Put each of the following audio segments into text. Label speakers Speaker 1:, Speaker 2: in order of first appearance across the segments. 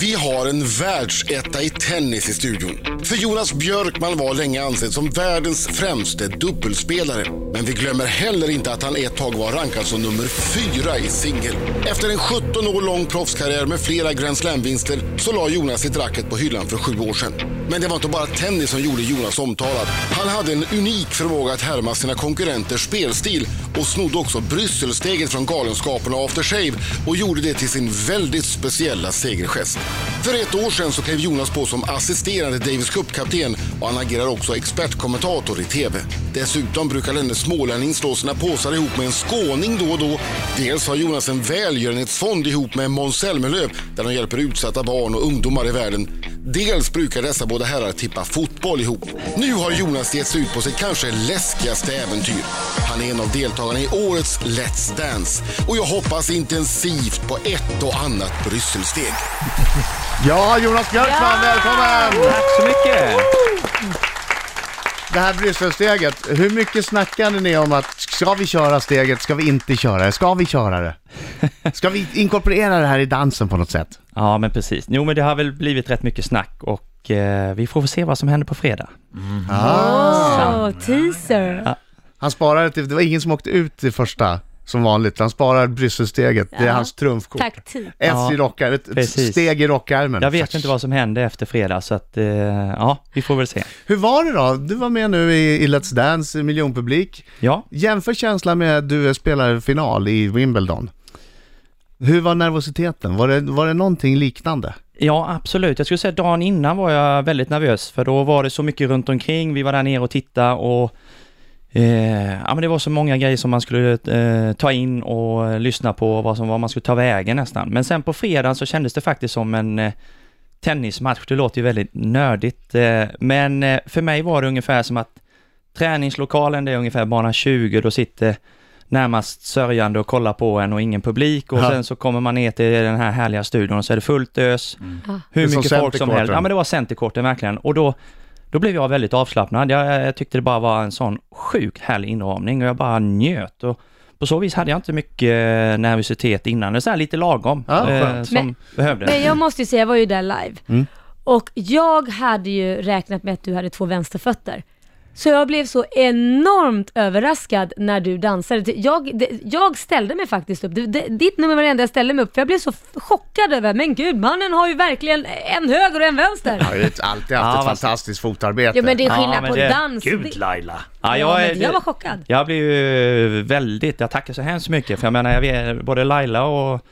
Speaker 1: Vi har en världsetta i tennis i studion. För Jonas Björkman var länge ansedd som världens främste dubbelspelare. Men vi glömmer heller inte att han ett tag var rankad som nummer fyra i singel. Efter en 17 år lång proffskarriär med flera Grand Slam-vinster så la Jonas sitt racket på hyllan för sju år sedan. Men det var inte bara tennis som gjorde Jonas omtalad. Han hade en unik förmåga att härma sina konkurrenters spelstil och snodde också Brysselsteget från Galenskaperna och After Shave och gjorde det till sin väldigt speciella segergest. För ett år sedan så klev Jonas på som assisterande Davis Cup-kapten och han agerar också expertkommentator i TV. Dessutom brukar denne smålänning slå sina påsar ihop med en skåning då och då. Dels har Jonas en välgörenhetsfond ihop med Måns Zelmerlöw där de hjälper utsatta barn och ungdomar i världen. Dels brukar dessa båda herrar tippa fotboll ihop. Nu har Jonas gett sig ut på sitt kanske läskigaste äventyr. Han är en av deltagarna i årets Let's Dance och jag hoppas intensivt på ett och annat Brysselsteg.
Speaker 2: Ja, Jonas Björkman, välkommen!
Speaker 3: Tack så mycket!
Speaker 2: Det här Brysselsteget, hur mycket snackade ni om att ska vi köra steget, ska vi inte köra det, ska vi köra det? Ska vi inkorporera det här i dansen på något sätt?
Speaker 3: Ja, men precis. Jo, men det har väl blivit rätt mycket snack och eh, vi får väl se vad som händer på fredag.
Speaker 4: Åh, teaser.
Speaker 2: Han sparade till, det var ingen som åkte ut i första, som vanligt. Han sparar Brysselsteget, det är
Speaker 4: Ja.
Speaker 2: hans trumfkort.
Speaker 4: Taktik.
Speaker 2: S i
Speaker 3: Ja,
Speaker 2: rockar, ett, ett
Speaker 3: precis.
Speaker 2: steg i rockärmen.
Speaker 3: Jag vet inte vad som händer efter fredag, så att eh, ja, vi får väl se.
Speaker 2: Hur var det då? Du var med nu i, i Let's Dance, i miljonpublik.
Speaker 3: Ja,
Speaker 2: Jämför känslan med att du spelar final i Wimbledon. Hur var nervositeten? Var det, var det någonting liknande?
Speaker 3: ja absolut. Jag skulle säga dagen innan var jag väldigt nervös, för då var det så mycket runt omkring. Vi var där nere och tittade och eh, ja, men det var så många grejer som man skulle eh, ta in och eh, lyssna på, vad som var man skulle ta vägen nästan. Men sen på fredagen så kändes det faktiskt som en eh, tennismatch. Det låter ju väldigt nördigt, eh, men eh, för mig var det ungefär som att träningslokalen, det är ungefär bana 20, då sitter närmast sörjande och kollar på en och ingen publik och
Speaker 2: Ja.
Speaker 3: sen så kommer man ner till den här härliga studion och så är det fullt ös,
Speaker 2: Mm. Det
Speaker 3: hur
Speaker 2: är som
Speaker 3: mycket folk som helst.
Speaker 2: centercourten.
Speaker 3: Ja men det var centercourten verkligen och då, då blev jag väldigt avslappnad. Jag, jag tyckte det bara var en sån sjukt härlig inramning och jag bara njöt och på så vis hade jag inte mycket eh, nervositet innan, det är så här lite lagom
Speaker 2: Ja,
Speaker 3: eh,
Speaker 2: skönt.
Speaker 3: som
Speaker 4: Men-
Speaker 3: behövdes.
Speaker 4: Men jag måste ju säga, jag var ju där live. Och jag hade ju räknat med att du hade två vänsterfötter. Så jag blev så enormt överraskad när du dansade. Jag, det- jag ställde mig faktiskt upp. Du- det- Ditt nummer var det enda jag ställde mig upp för jag blev så f- chockad över, men gud, mannen har ju verkligen en höger och en vänster.
Speaker 2: Jag har ju alltid haft
Speaker 3: Ja,
Speaker 2: ett
Speaker 3: vad-
Speaker 2: fantastiskt fotarbete.
Speaker 4: Ja men det är
Speaker 3: Ja,
Speaker 4: skillnad
Speaker 3: men
Speaker 4: på
Speaker 3: det-
Speaker 4: dans.
Speaker 5: Gud
Speaker 4: Det-
Speaker 5: Laila!
Speaker 3: Ja,
Speaker 4: Ja,
Speaker 3: jag,
Speaker 4: men
Speaker 3: är-
Speaker 4: jag var chockad.
Speaker 3: Jag blev ju väldigt, jag tackar så hemskt mycket för jag menar, jag vet, både Laila och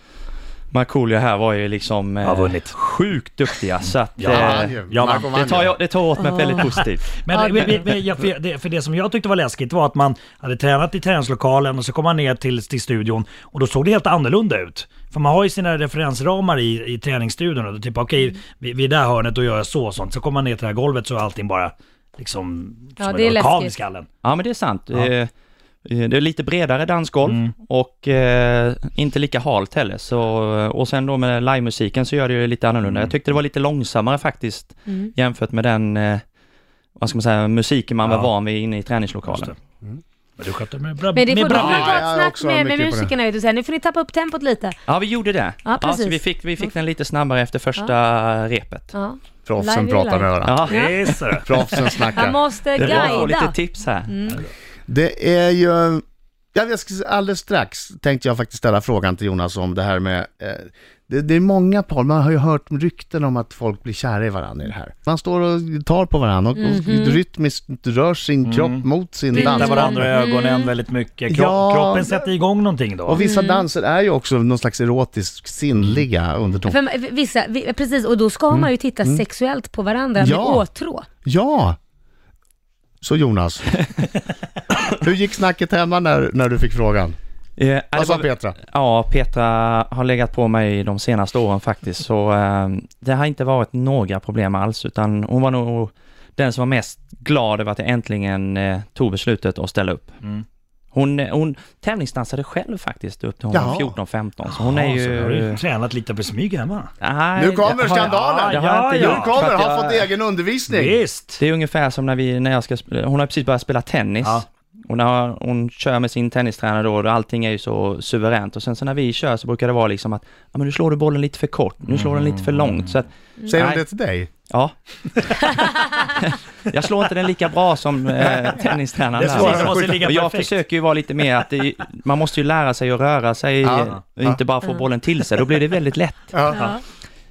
Speaker 3: Markoolio här var ju liksom eh,
Speaker 5: Har vunnit.
Speaker 3: sjukt duktiga så att
Speaker 5: Ja,
Speaker 3: eh,
Speaker 2: Ja, vann ju.
Speaker 5: ja,
Speaker 2: Marco
Speaker 5: men
Speaker 2: vann
Speaker 3: det, tar
Speaker 2: ju.
Speaker 3: jag, det tar åt mig väldigt positivt.
Speaker 4: Ja,
Speaker 5: Men, men, men, men, jag- för, det, för det som jag tyckte var läskigt var att man hade tränat i träningslokalen och så kom man ner till, till studion och då såg det helt annorlunda ut. För man har ju sina referensramar i, i träningsstudion och då typ okej,
Speaker 4: Mm.
Speaker 5: vi vid det här hörnet då gör jag så och sånt. Så kommer man ner till det här golvet så är allting bara liksom
Speaker 4: Ja,
Speaker 5: som
Speaker 4: det är
Speaker 5: en orkan i
Speaker 4: läskigt.
Speaker 5: skallen.
Speaker 3: Ja men det är sant. Eh, eh, Det är lite bredare dansgolv
Speaker 5: Mm.
Speaker 3: och eh, inte lika halt heller. Så, eh, och sen då med livemusiken så gör det ju lite annorlunda.
Speaker 5: Mm.
Speaker 3: Jag tyckte det var lite långsammare faktiskt
Speaker 4: Mm.
Speaker 3: jämfört med den, eh, vad ska man säga, musiken man
Speaker 5: Ja.
Speaker 3: var van vid inne i träningslokalen.
Speaker 5: Just Men du skötte med bra.
Speaker 4: Men det
Speaker 5: med
Speaker 4: får du
Speaker 5: bra.
Speaker 2: Ja,
Speaker 4: ta
Speaker 2: jag är
Speaker 4: ett snack
Speaker 2: också
Speaker 4: med, med
Speaker 2: mycket på det.
Speaker 4: musikerna vet du, och säga, nu får ni tappa upp tempot lite.
Speaker 3: Ja, vi gjorde det.
Speaker 4: Ja, precis.
Speaker 3: så vi fick, vi fick den lite snabbare efter första repet.
Speaker 4: Ja. Live
Speaker 2: Proffsen
Speaker 4: är
Speaker 2: pratar med
Speaker 4: live.
Speaker 2: varandra.
Speaker 3: Ja,
Speaker 5: Yes, sir.
Speaker 2: Proffsen
Speaker 4: Jag
Speaker 2: snackar.
Speaker 4: måste
Speaker 3: jag får lite
Speaker 4: guida. Mm.
Speaker 3: tips här.
Speaker 2: Det är ju... Ja, jag ska, alldeles strax tänkte jag faktiskt ställa frågan till Jonas om det här med... Eh, det, det är många par, man har ju hört rykten om att folk blir kära i varandra i det här. Man står och tar på varandra och,
Speaker 4: Mhm.
Speaker 2: och rytmiskt rör sin
Speaker 3: Mm.
Speaker 2: kropp mot sin
Speaker 5: Tittar
Speaker 2: dans.
Speaker 5: varandra i
Speaker 4: Mm.
Speaker 5: ögonen väldigt mycket. Kro-
Speaker 2: Ja.
Speaker 5: Kroppen sätter igång någonting då.
Speaker 2: Och vissa danser är ju också någon slags erotisk sinnliga
Speaker 3: Mm.
Speaker 2: underton.
Speaker 4: För vissa, vi- precis, och då ska man ju titta sexuellt på varandra med
Speaker 2: Ja.
Speaker 4: åtrå.
Speaker 2: Ja! Så Jonas, hur gick snacket hemma när, när du fick frågan?
Speaker 3: Eh, ja, det
Speaker 5: Alltså,
Speaker 2: Vad sa
Speaker 3: var-
Speaker 2: Petra?
Speaker 3: Ja, Petra har legat på mig de senaste åren faktiskt, så eh, det har inte varit några problem alls, utan hon var nog den som var mest glad över att jag äntligen eh, tog beslutet att ställa upp. Hon, eh, hon tävlingsdansade själv faktiskt upp till hon
Speaker 2: Jaha.
Speaker 3: var 14-15, så hon är
Speaker 5: Ja, så har du
Speaker 3: ju...
Speaker 5: ju tränat lite på smyg hemma.
Speaker 3: Nej,
Speaker 2: Nu kommer
Speaker 3: det har jag-
Speaker 2: skandalen!
Speaker 3: det har jag inte
Speaker 5: Ja,
Speaker 2: Nu
Speaker 3: gjort, för
Speaker 2: kommer,
Speaker 3: att
Speaker 2: har
Speaker 3: jag-
Speaker 2: fått egen undervisning!
Speaker 5: Visst!
Speaker 3: Det är ungefär som när vi, när jag ska spela, hon har precis börjat spela tennis.
Speaker 5: Ja.
Speaker 3: Och när hon kör med sin tennistränare då, då allting är ju så suveränt. Och sen så när vi kör så brukar det vara liksom att, ja men nu slår du bollen lite för kort, nu slår den lite
Speaker 5: Mm.
Speaker 3: för långt. Så att,
Speaker 2: Säger hon
Speaker 3: Nej.
Speaker 2: det till dig?
Speaker 3: ja. jag slår inte den lika bra som eh, tennistränaren
Speaker 5: Det
Speaker 3: där.
Speaker 5: svarar Precis, det måste ligga
Speaker 3: Och jag
Speaker 5: perfekt.
Speaker 3: försöker ju vara lite mer att det, man måste ju lära sig att röra sig, eh,
Speaker 2: Ja.
Speaker 3: och inte bara få bollen till sig. Då blir det väldigt lätt.
Speaker 4: Ja.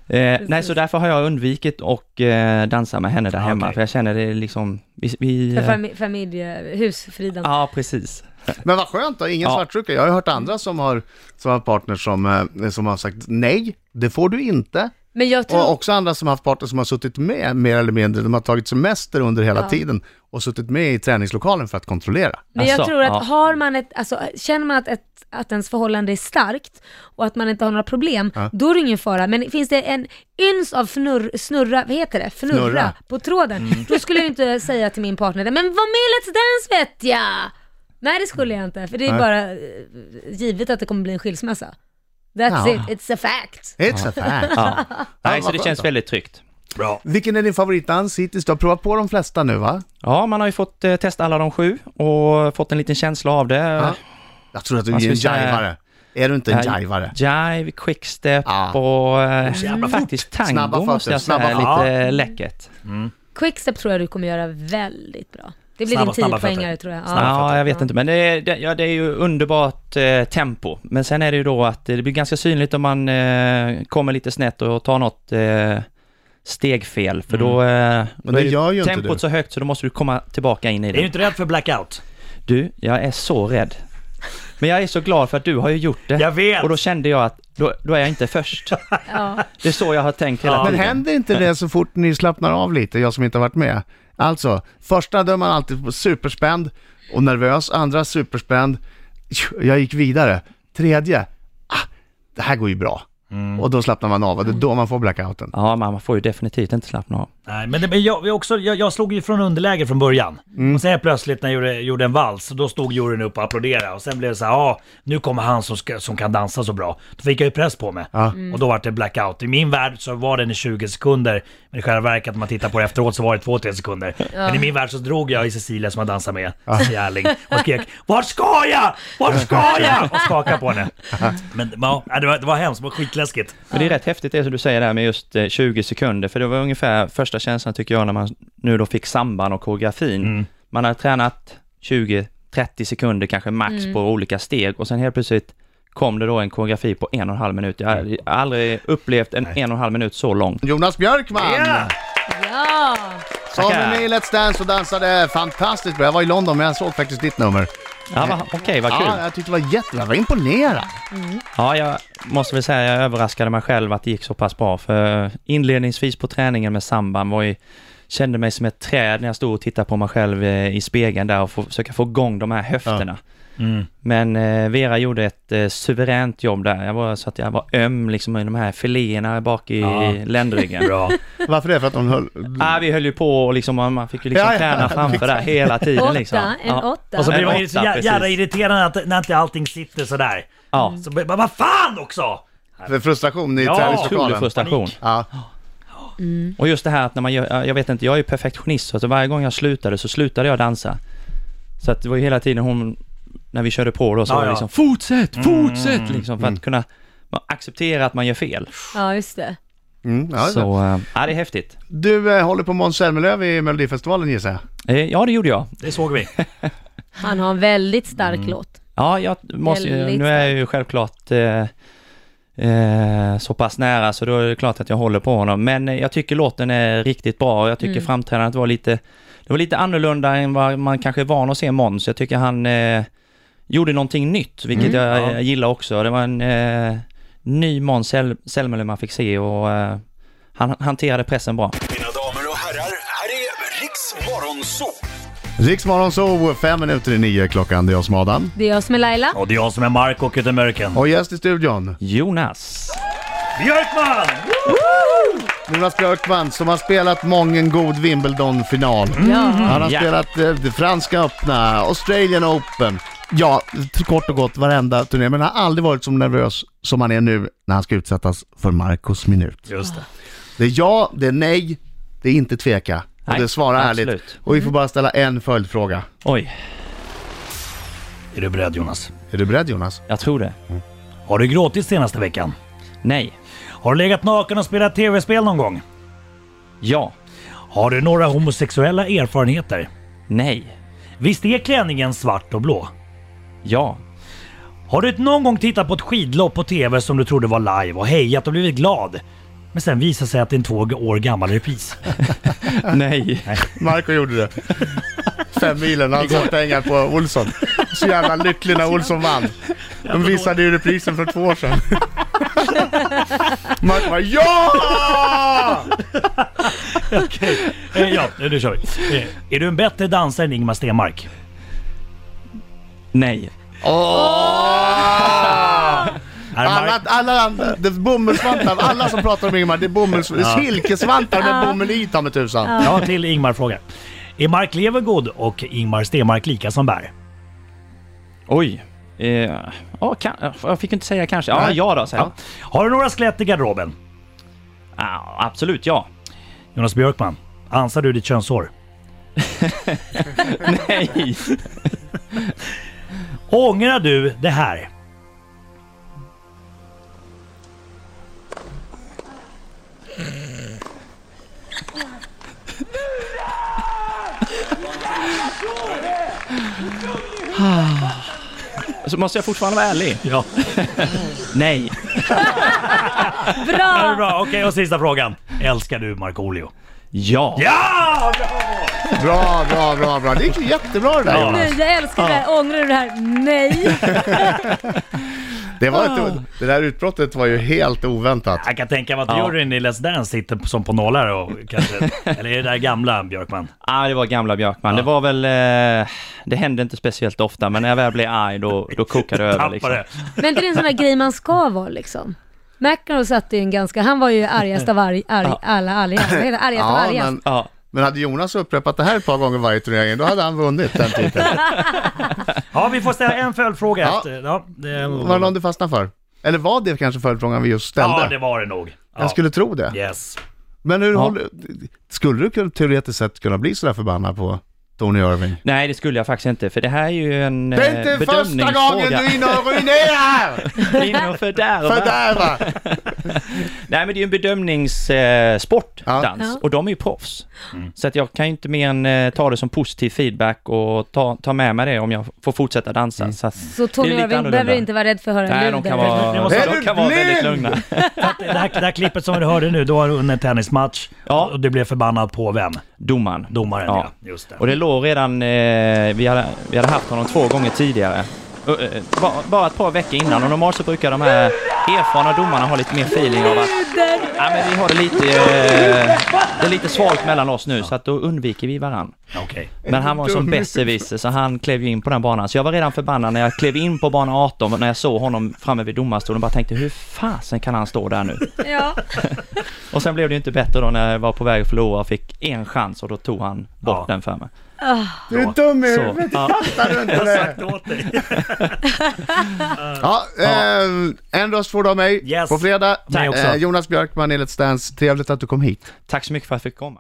Speaker 3: Eh, nej, så därför har jag undvikit och eh, dansa med henne där
Speaker 5: Ah,
Speaker 3: hemma,
Speaker 5: okej.
Speaker 3: för jag känner det liksom, vi... vi
Speaker 4: För
Speaker 3: eh,
Speaker 4: fami- familjehus, Friden.
Speaker 3: ja, precis.
Speaker 2: Men vad skönt då, ingen
Speaker 3: Ja.
Speaker 2: svartsjuka. Jag har ju hört andra som har, som har partners som, eh, som har sagt nej, det får du inte.
Speaker 4: Men jag tror...
Speaker 2: Och också andra som har haft partner som har suttit med mer eller mindre, de har tagit semester under hela
Speaker 4: Ja.
Speaker 2: tiden och suttit med i träningslokalen för att kontrollera.
Speaker 4: Men jag
Speaker 3: Alltså,
Speaker 4: tror att
Speaker 3: ja.
Speaker 4: har man ett, alltså, känner man att, ett, att ens förhållande är starkt och att man inte har några problem, då är det ingen fara. Men finns det en yns av fnurr, snurra, vad heter det? Fnurra,
Speaker 2: Fnurra.
Speaker 4: på tråden, då skulle jag ju inte säga till min partner, men var med i Let's Dance vet jag! Nej det skulle jag inte, för det är
Speaker 2: Nej.
Speaker 4: bara eh, givet att det kommer bli en skilsmässa. That's
Speaker 2: Ja.
Speaker 4: it, it's a fact.
Speaker 2: It's a fact.
Speaker 3: Ja. Nej, så
Speaker 2: vad
Speaker 3: det
Speaker 2: skönt
Speaker 3: känns
Speaker 2: då.
Speaker 3: väldigt tryggt.
Speaker 5: Bra.
Speaker 2: Vilken är din favoritdans hittills? Du har provat på de flesta nu va?
Speaker 3: Ja, man har ju fått eh, testa alla de sju och fått en liten känsla av det.
Speaker 2: Jag tror att du är en
Speaker 3: Man ska säga-
Speaker 2: jivare. Är du inte en
Speaker 3: Eh,
Speaker 2: jivare?
Speaker 3: Jive, quickstep
Speaker 2: Ah.
Speaker 3: och eh,
Speaker 5: jävla fort.
Speaker 3: faktiskt tango
Speaker 2: Snabba
Speaker 3: måste
Speaker 2: fötter,
Speaker 3: jag säga,
Speaker 2: snabba
Speaker 3: är lite
Speaker 5: fötter.
Speaker 3: läcket.
Speaker 4: Quickstep tror jag du kommer göra väldigt bra. Det blir
Speaker 5: Snabba-
Speaker 4: din
Speaker 5: snabba
Speaker 4: tiopoängare
Speaker 5: fötter.
Speaker 4: tror jag. Ja.
Speaker 3: Ja, jag vet inte, men det är, det, ja, det är ju underbart eh, tempo. Men sen är det ju då att eh, det blir ganska synligt om man eh, kommer lite snett och tar något eh, steg fel, för då, eh, då
Speaker 2: Mm. det
Speaker 3: är ju
Speaker 2: gör ju inte
Speaker 3: tempot
Speaker 2: du.
Speaker 3: så högt så då måste du komma tillbaka in i
Speaker 5: Är du
Speaker 3: det.
Speaker 5: inte rädd för blackout?
Speaker 3: Du, jag är så rädd. Men jag är så glad för att du har ju gjort det.
Speaker 5: Jag vet.
Speaker 3: Och då kände jag att då, då är jag inte först.
Speaker 4: Ja.
Speaker 3: Det är så jag har tänkt hela
Speaker 5: Ja.
Speaker 2: Men
Speaker 3: tiden.
Speaker 2: händer inte det så fort ni slappnar av lite, jag som inte har varit med? Alltså, första då är man alltid superspänd och nervös, andra superspänd, jag gick vidare, tredje, ah, det här går ju bra.
Speaker 3: Mm.
Speaker 2: Och då slappnar man av och det är då man får blackouten.
Speaker 3: Ja, man man får ju definitivt inte slappna av.
Speaker 5: Nej, men det, men jag, jag, också, jag, jag slog ju från underläge från början. Och sen helt plötsligt när jag gjorde, gjorde en vals, då stod juryn upp och applåderade. Och sen blev det så här, ja, nu kommer han som, ska, som kan dansa så bra. Då fick jag ju press på mig.
Speaker 2: Ja.
Speaker 5: Och då var det blackout. I min värld så var den i 20 sekunder, men i själva verket när man tittar på det efteråt så var det 2-3 sekunder. Men i min värld så drog jag i Cecilia som jag dansar med, Cecilia Erling, och skrek Vart ska jag? Vart ska jag? Och skakade på henne. Men ja, det var, det var hemskt, det var skitläskigt.
Speaker 3: Men det är rätt häftigt det som du säger där med just eh, 20 sekunder, för det var ungefär första känslan tycker jag när man nu då fick samband och koreografin. Man har tränat 20-30 sekunder kanske max på olika steg och sen helt plötsligt kom det då en koreografi på en och en halv minut. Jag har aldrig upplevt en en och en halv minut så lång.
Speaker 2: Jonas Björkman!
Speaker 5: Ja!
Speaker 4: ja.
Speaker 2: Som är
Speaker 3: Tackar.
Speaker 2: med i Let's Dance och dansade fantastiskt bra. Jag var i London men jag såg faktiskt ditt nummer.
Speaker 3: Ja, va, okej, vad kul.
Speaker 2: Ja, jag tyckte det var jättebra, jag var imponerad.
Speaker 3: Ja, jag måste väl säga jag överraskade mig själv att det gick så pass bra. För inledningsvis på träningen med samban var ju, kände mig som ett träd när jag stod och tittade på mig själv eh, i spegeln där och få, försöka få igång de här höfterna. Men eh, Vera gjorde ett eh, suveränt jobb där. Jag var så att jag var öm liksom i de här filéerna bak i
Speaker 5: Ja.
Speaker 3: ländryggen.
Speaker 5: Bra.
Speaker 2: Varför det? För att de höll...
Speaker 3: Ah, vi höll ju på och liksom, man man fick ju liksom
Speaker 2: Ja, ja.
Speaker 3: träna framför där hela tiden liksom.
Speaker 4: Åtta, en
Speaker 3: Ja.
Speaker 4: åtta.
Speaker 5: Och så
Speaker 3: Ja,
Speaker 5: blir man
Speaker 3: en
Speaker 5: ju så
Speaker 3: åtta,
Speaker 5: jä- jävla
Speaker 3: precis.
Speaker 5: irriterande att, när inte allting sitter sådär.
Speaker 3: Ja.
Speaker 5: Så blir man, vad fan också!
Speaker 2: För frustration i
Speaker 5: Ja,
Speaker 3: Otrolig
Speaker 2: träningslokalen?
Speaker 3: frustration.
Speaker 2: Ja,
Speaker 3: Och just det här att när man gör, jag vet inte, jag är ju perfektionist så att varje gång jag slutade så slutade jag dansa. Så att det var ju hela tiden hon, när vi körde på då så
Speaker 5: Ja,
Speaker 3: var det
Speaker 5: ja.
Speaker 3: liksom fortsätt, fortsätt liksom för att kunna man acceptera att man gör fel.
Speaker 4: Ja, just det.
Speaker 2: mm, ja så.
Speaker 3: så, äh, ja det är häftigt.
Speaker 2: Du eh, håller på Måns Zelmerlöw i Melodifestivalen gissar jag?
Speaker 3: Eh, ja det gjorde jag.
Speaker 5: Det såg vi.
Speaker 4: Han har en väldigt stark låt.
Speaker 3: Ja, jag måste ju,
Speaker 4: Väldigt
Speaker 3: nu är jag ju självklart eh, eh, så pass nära så då är det klart att jag håller på honom. Men eh, jag tycker låten är riktigt bra och jag tycker framträdandet var lite, det var lite annorlunda än vad man kanske är van att se Måns. Jag tycker han eh, gjorde någonting nytt, vilket jag
Speaker 5: Ja.
Speaker 3: eh, gillar också. Det var en eh, ny Måns Zel- Zelmerlöw man fick se och eh, han hanterade pressen bra.
Speaker 6: Mina damer och herrar, här är Riks Morgonzoo!
Speaker 2: Riksmorgon så fem minuter i nio klockan, det är jag som är Adam.
Speaker 4: Det är jag som är Laila.
Speaker 5: Och det är jag som är Marco Kutte Mörken.
Speaker 2: Och gäst i studion,
Speaker 3: Jonas!
Speaker 5: Björkman!
Speaker 2: Jonas Björkman som har spelat mången god Wimbledon-final. Han har
Speaker 3: Ja.
Speaker 2: spelat eh, det franska öppna, Australian Open. Ja, t- kort och gott varenda turné, men han har aldrig varit så nervös som han är nu när han ska utsättas för Marcos minut.
Speaker 5: Just det.
Speaker 2: Det är ja, det är nej, det är inte tveka. Och
Speaker 3: Nej,
Speaker 2: det svarar
Speaker 3: absolut.
Speaker 2: ärligt. Och vi får bara ställa en följdfråga.
Speaker 3: Oj.
Speaker 5: Är du beredd Jonas?
Speaker 2: Är du beredd Jonas?
Speaker 3: Jag tror det.
Speaker 5: Har du gråtit senaste veckan?
Speaker 3: Nej.
Speaker 5: Har du legat naken och spelat tv-spel någon gång?
Speaker 3: Ja.
Speaker 5: Har du några homosexuella erfarenheter?
Speaker 3: Nej.
Speaker 5: Visst är klänningen svart och blå?
Speaker 3: Ja.
Speaker 5: Har du någon gång tittat på ett skidlopp på TV som du trodde var live och hejat och blivit glad? Men sen visar sig att det är en två år gammal repris.
Speaker 3: Nej.
Speaker 2: Marco gjorde det. Fem milen, han satte pengar på Olsson. Så jävla lycklig när Olsson vann. De visade ju reprisen för två år sedan. Marco bara ja!
Speaker 5: Eh, ja, nu kör vi. Eh, Är du en bättre dansare än Ingmar Stenmark?
Speaker 3: Nej.
Speaker 5: Är
Speaker 2: Alla,
Speaker 5: Mark-
Speaker 2: alla andra, det är bomullsvantar, alla som pratar om Ingemar, det är bomulls, det är silkesvantar med bomull i ta mig tusan.
Speaker 5: Ja, till Ingmar frågar. Är Mark Levengood och Ingmar Stenmark lika som bär?
Speaker 3: Oj. Eh, ja, kan, ja, jag fick inte säga kanske. Ja,
Speaker 2: Nej.
Speaker 3: ja då säger jag.
Speaker 5: Har du några skelett i garderoben?
Speaker 3: Ja, absolut ja.
Speaker 5: Jonas Björkman, ansar du ditt könshår?
Speaker 3: Nej.
Speaker 5: Ångrar du det här?
Speaker 3: Så måste jag fortfarande vara ärlig?
Speaker 5: Ja.
Speaker 3: Nej.
Speaker 5: Ja, det
Speaker 4: Bra!
Speaker 5: är bra. Okej, och sista frågan. Älskar du Markoolio?
Speaker 3: Ja.
Speaker 5: Ja!
Speaker 2: Bra, bra, bra, bra. Det gick ju jättebra det där
Speaker 5: Ja.
Speaker 2: Jonas.
Speaker 4: Nej, jag älskar det här. Ångrar du det här? Nej.
Speaker 2: Det, var inte, det där utbrottet var ju helt oväntat.
Speaker 5: Jag kan tänka mig att
Speaker 3: Ja.
Speaker 5: juryn i Let's Dance sitter som på nålar och kanske... eller är det där gamla Björkman?
Speaker 3: Ah, det var gamla Björkman. Det var väl... Eh, det hände inte speciellt ofta, men när jag väl blev arg då, då kokade det över. Liksom.
Speaker 5: Tappade.
Speaker 4: Men inte det är en sån där grej man ska vara liksom? McEnroe satte ju en ganska, han var ju argast av arg, arg, alla arga. Vad heter det? Argast av
Speaker 2: Ja,
Speaker 4: argast.
Speaker 2: men,
Speaker 3: Ja.
Speaker 2: men hade Jonas upprepat det här ett par gånger varje turnering, då hade han vunnit den titeln.
Speaker 5: Ja, vi får ställa en följdfråga
Speaker 2: Ja.
Speaker 5: efter. Ja, det...
Speaker 2: Var det någon du fastnade för? Eller var det kanske följdfrågan vi just ställde?
Speaker 5: ja, det var det nog. Ja.
Speaker 2: Jag skulle tro det.
Speaker 5: Yes.
Speaker 2: Men hur håller... Skulle du kunna- teoretiskt sett kunna bli sådär förbannad på Tony
Speaker 5: Eh,
Speaker 2: Irving?
Speaker 3: Nej, det skulle jag faktiskt inte, för det här är ju en eh,
Speaker 2: Det är inte första gången du är inne och ruinerar!
Speaker 3: inne och fördärvar.
Speaker 2: Fördärva!
Speaker 3: Nej, men det är ju en bedömningssport, eh, sport,
Speaker 2: Ja.
Speaker 3: dans,
Speaker 4: Ja.
Speaker 3: och de är ju proffs. Så att jag kan ju inte mer än eh, ta det som positiv feedback och ta, ta med mig det om jag får fortsätta dansa. Så att,
Speaker 4: Så Tony
Speaker 3: Det är lite
Speaker 4: Irving behöver
Speaker 3: annorlunda.
Speaker 4: inte vara rädd för att höra en
Speaker 3: nej, de
Speaker 4: lud
Speaker 3: kan
Speaker 4: där.
Speaker 5: Jag
Speaker 3: vara,
Speaker 5: måste-
Speaker 2: Är
Speaker 3: de
Speaker 2: du
Speaker 3: kan vara väldigt
Speaker 2: blind?
Speaker 3: lugna.
Speaker 5: Det här, det här klippet som du hörde nu, då har du under en tennismatch
Speaker 3: Ja.
Speaker 5: och du blev förbannad på vem?
Speaker 3: Domaren.
Speaker 5: Domaren ja.
Speaker 3: Ja.
Speaker 5: Just det.
Speaker 3: Och det låg redan, eh, vi, hade, vi hade haft honom två gånger tidigare. Ö, ö, Bara, bara ett par veckor innan och normalt så brukar de här erfarna domarna ha lite mer feeling av att ja, men vi har det lite, eh, det är lite svalt mellan oss nu så att då undviker vi varann.
Speaker 5: Okej.
Speaker 3: Men han var en sån besserwisser så han klev ju in på den banan. Så jag var redan förbannad när jag klev in på bana 18 och när jag såg honom framme vid domarstolen och bara tänkte hur fasen kan han stå där nu?
Speaker 4: Ja.
Speaker 3: Och sen blev det ju inte bättre då när jag var på väg att förlora och fick en chans och då tog han bort
Speaker 5: Ja.
Speaker 3: den för mig.
Speaker 2: Du är dum i
Speaker 3: Så,
Speaker 2: huvudet,
Speaker 3: ja.
Speaker 2: fattar du inte det?
Speaker 5: Åt dig.
Speaker 2: Ja, eh, en röst får du av mig
Speaker 5: Yes.
Speaker 2: på fredag. Eh,
Speaker 5: Mig också.
Speaker 2: Jonas Björkman i Let's Dance, trevligt att du kom hit.
Speaker 3: Tack så mycket för att jag fick komma.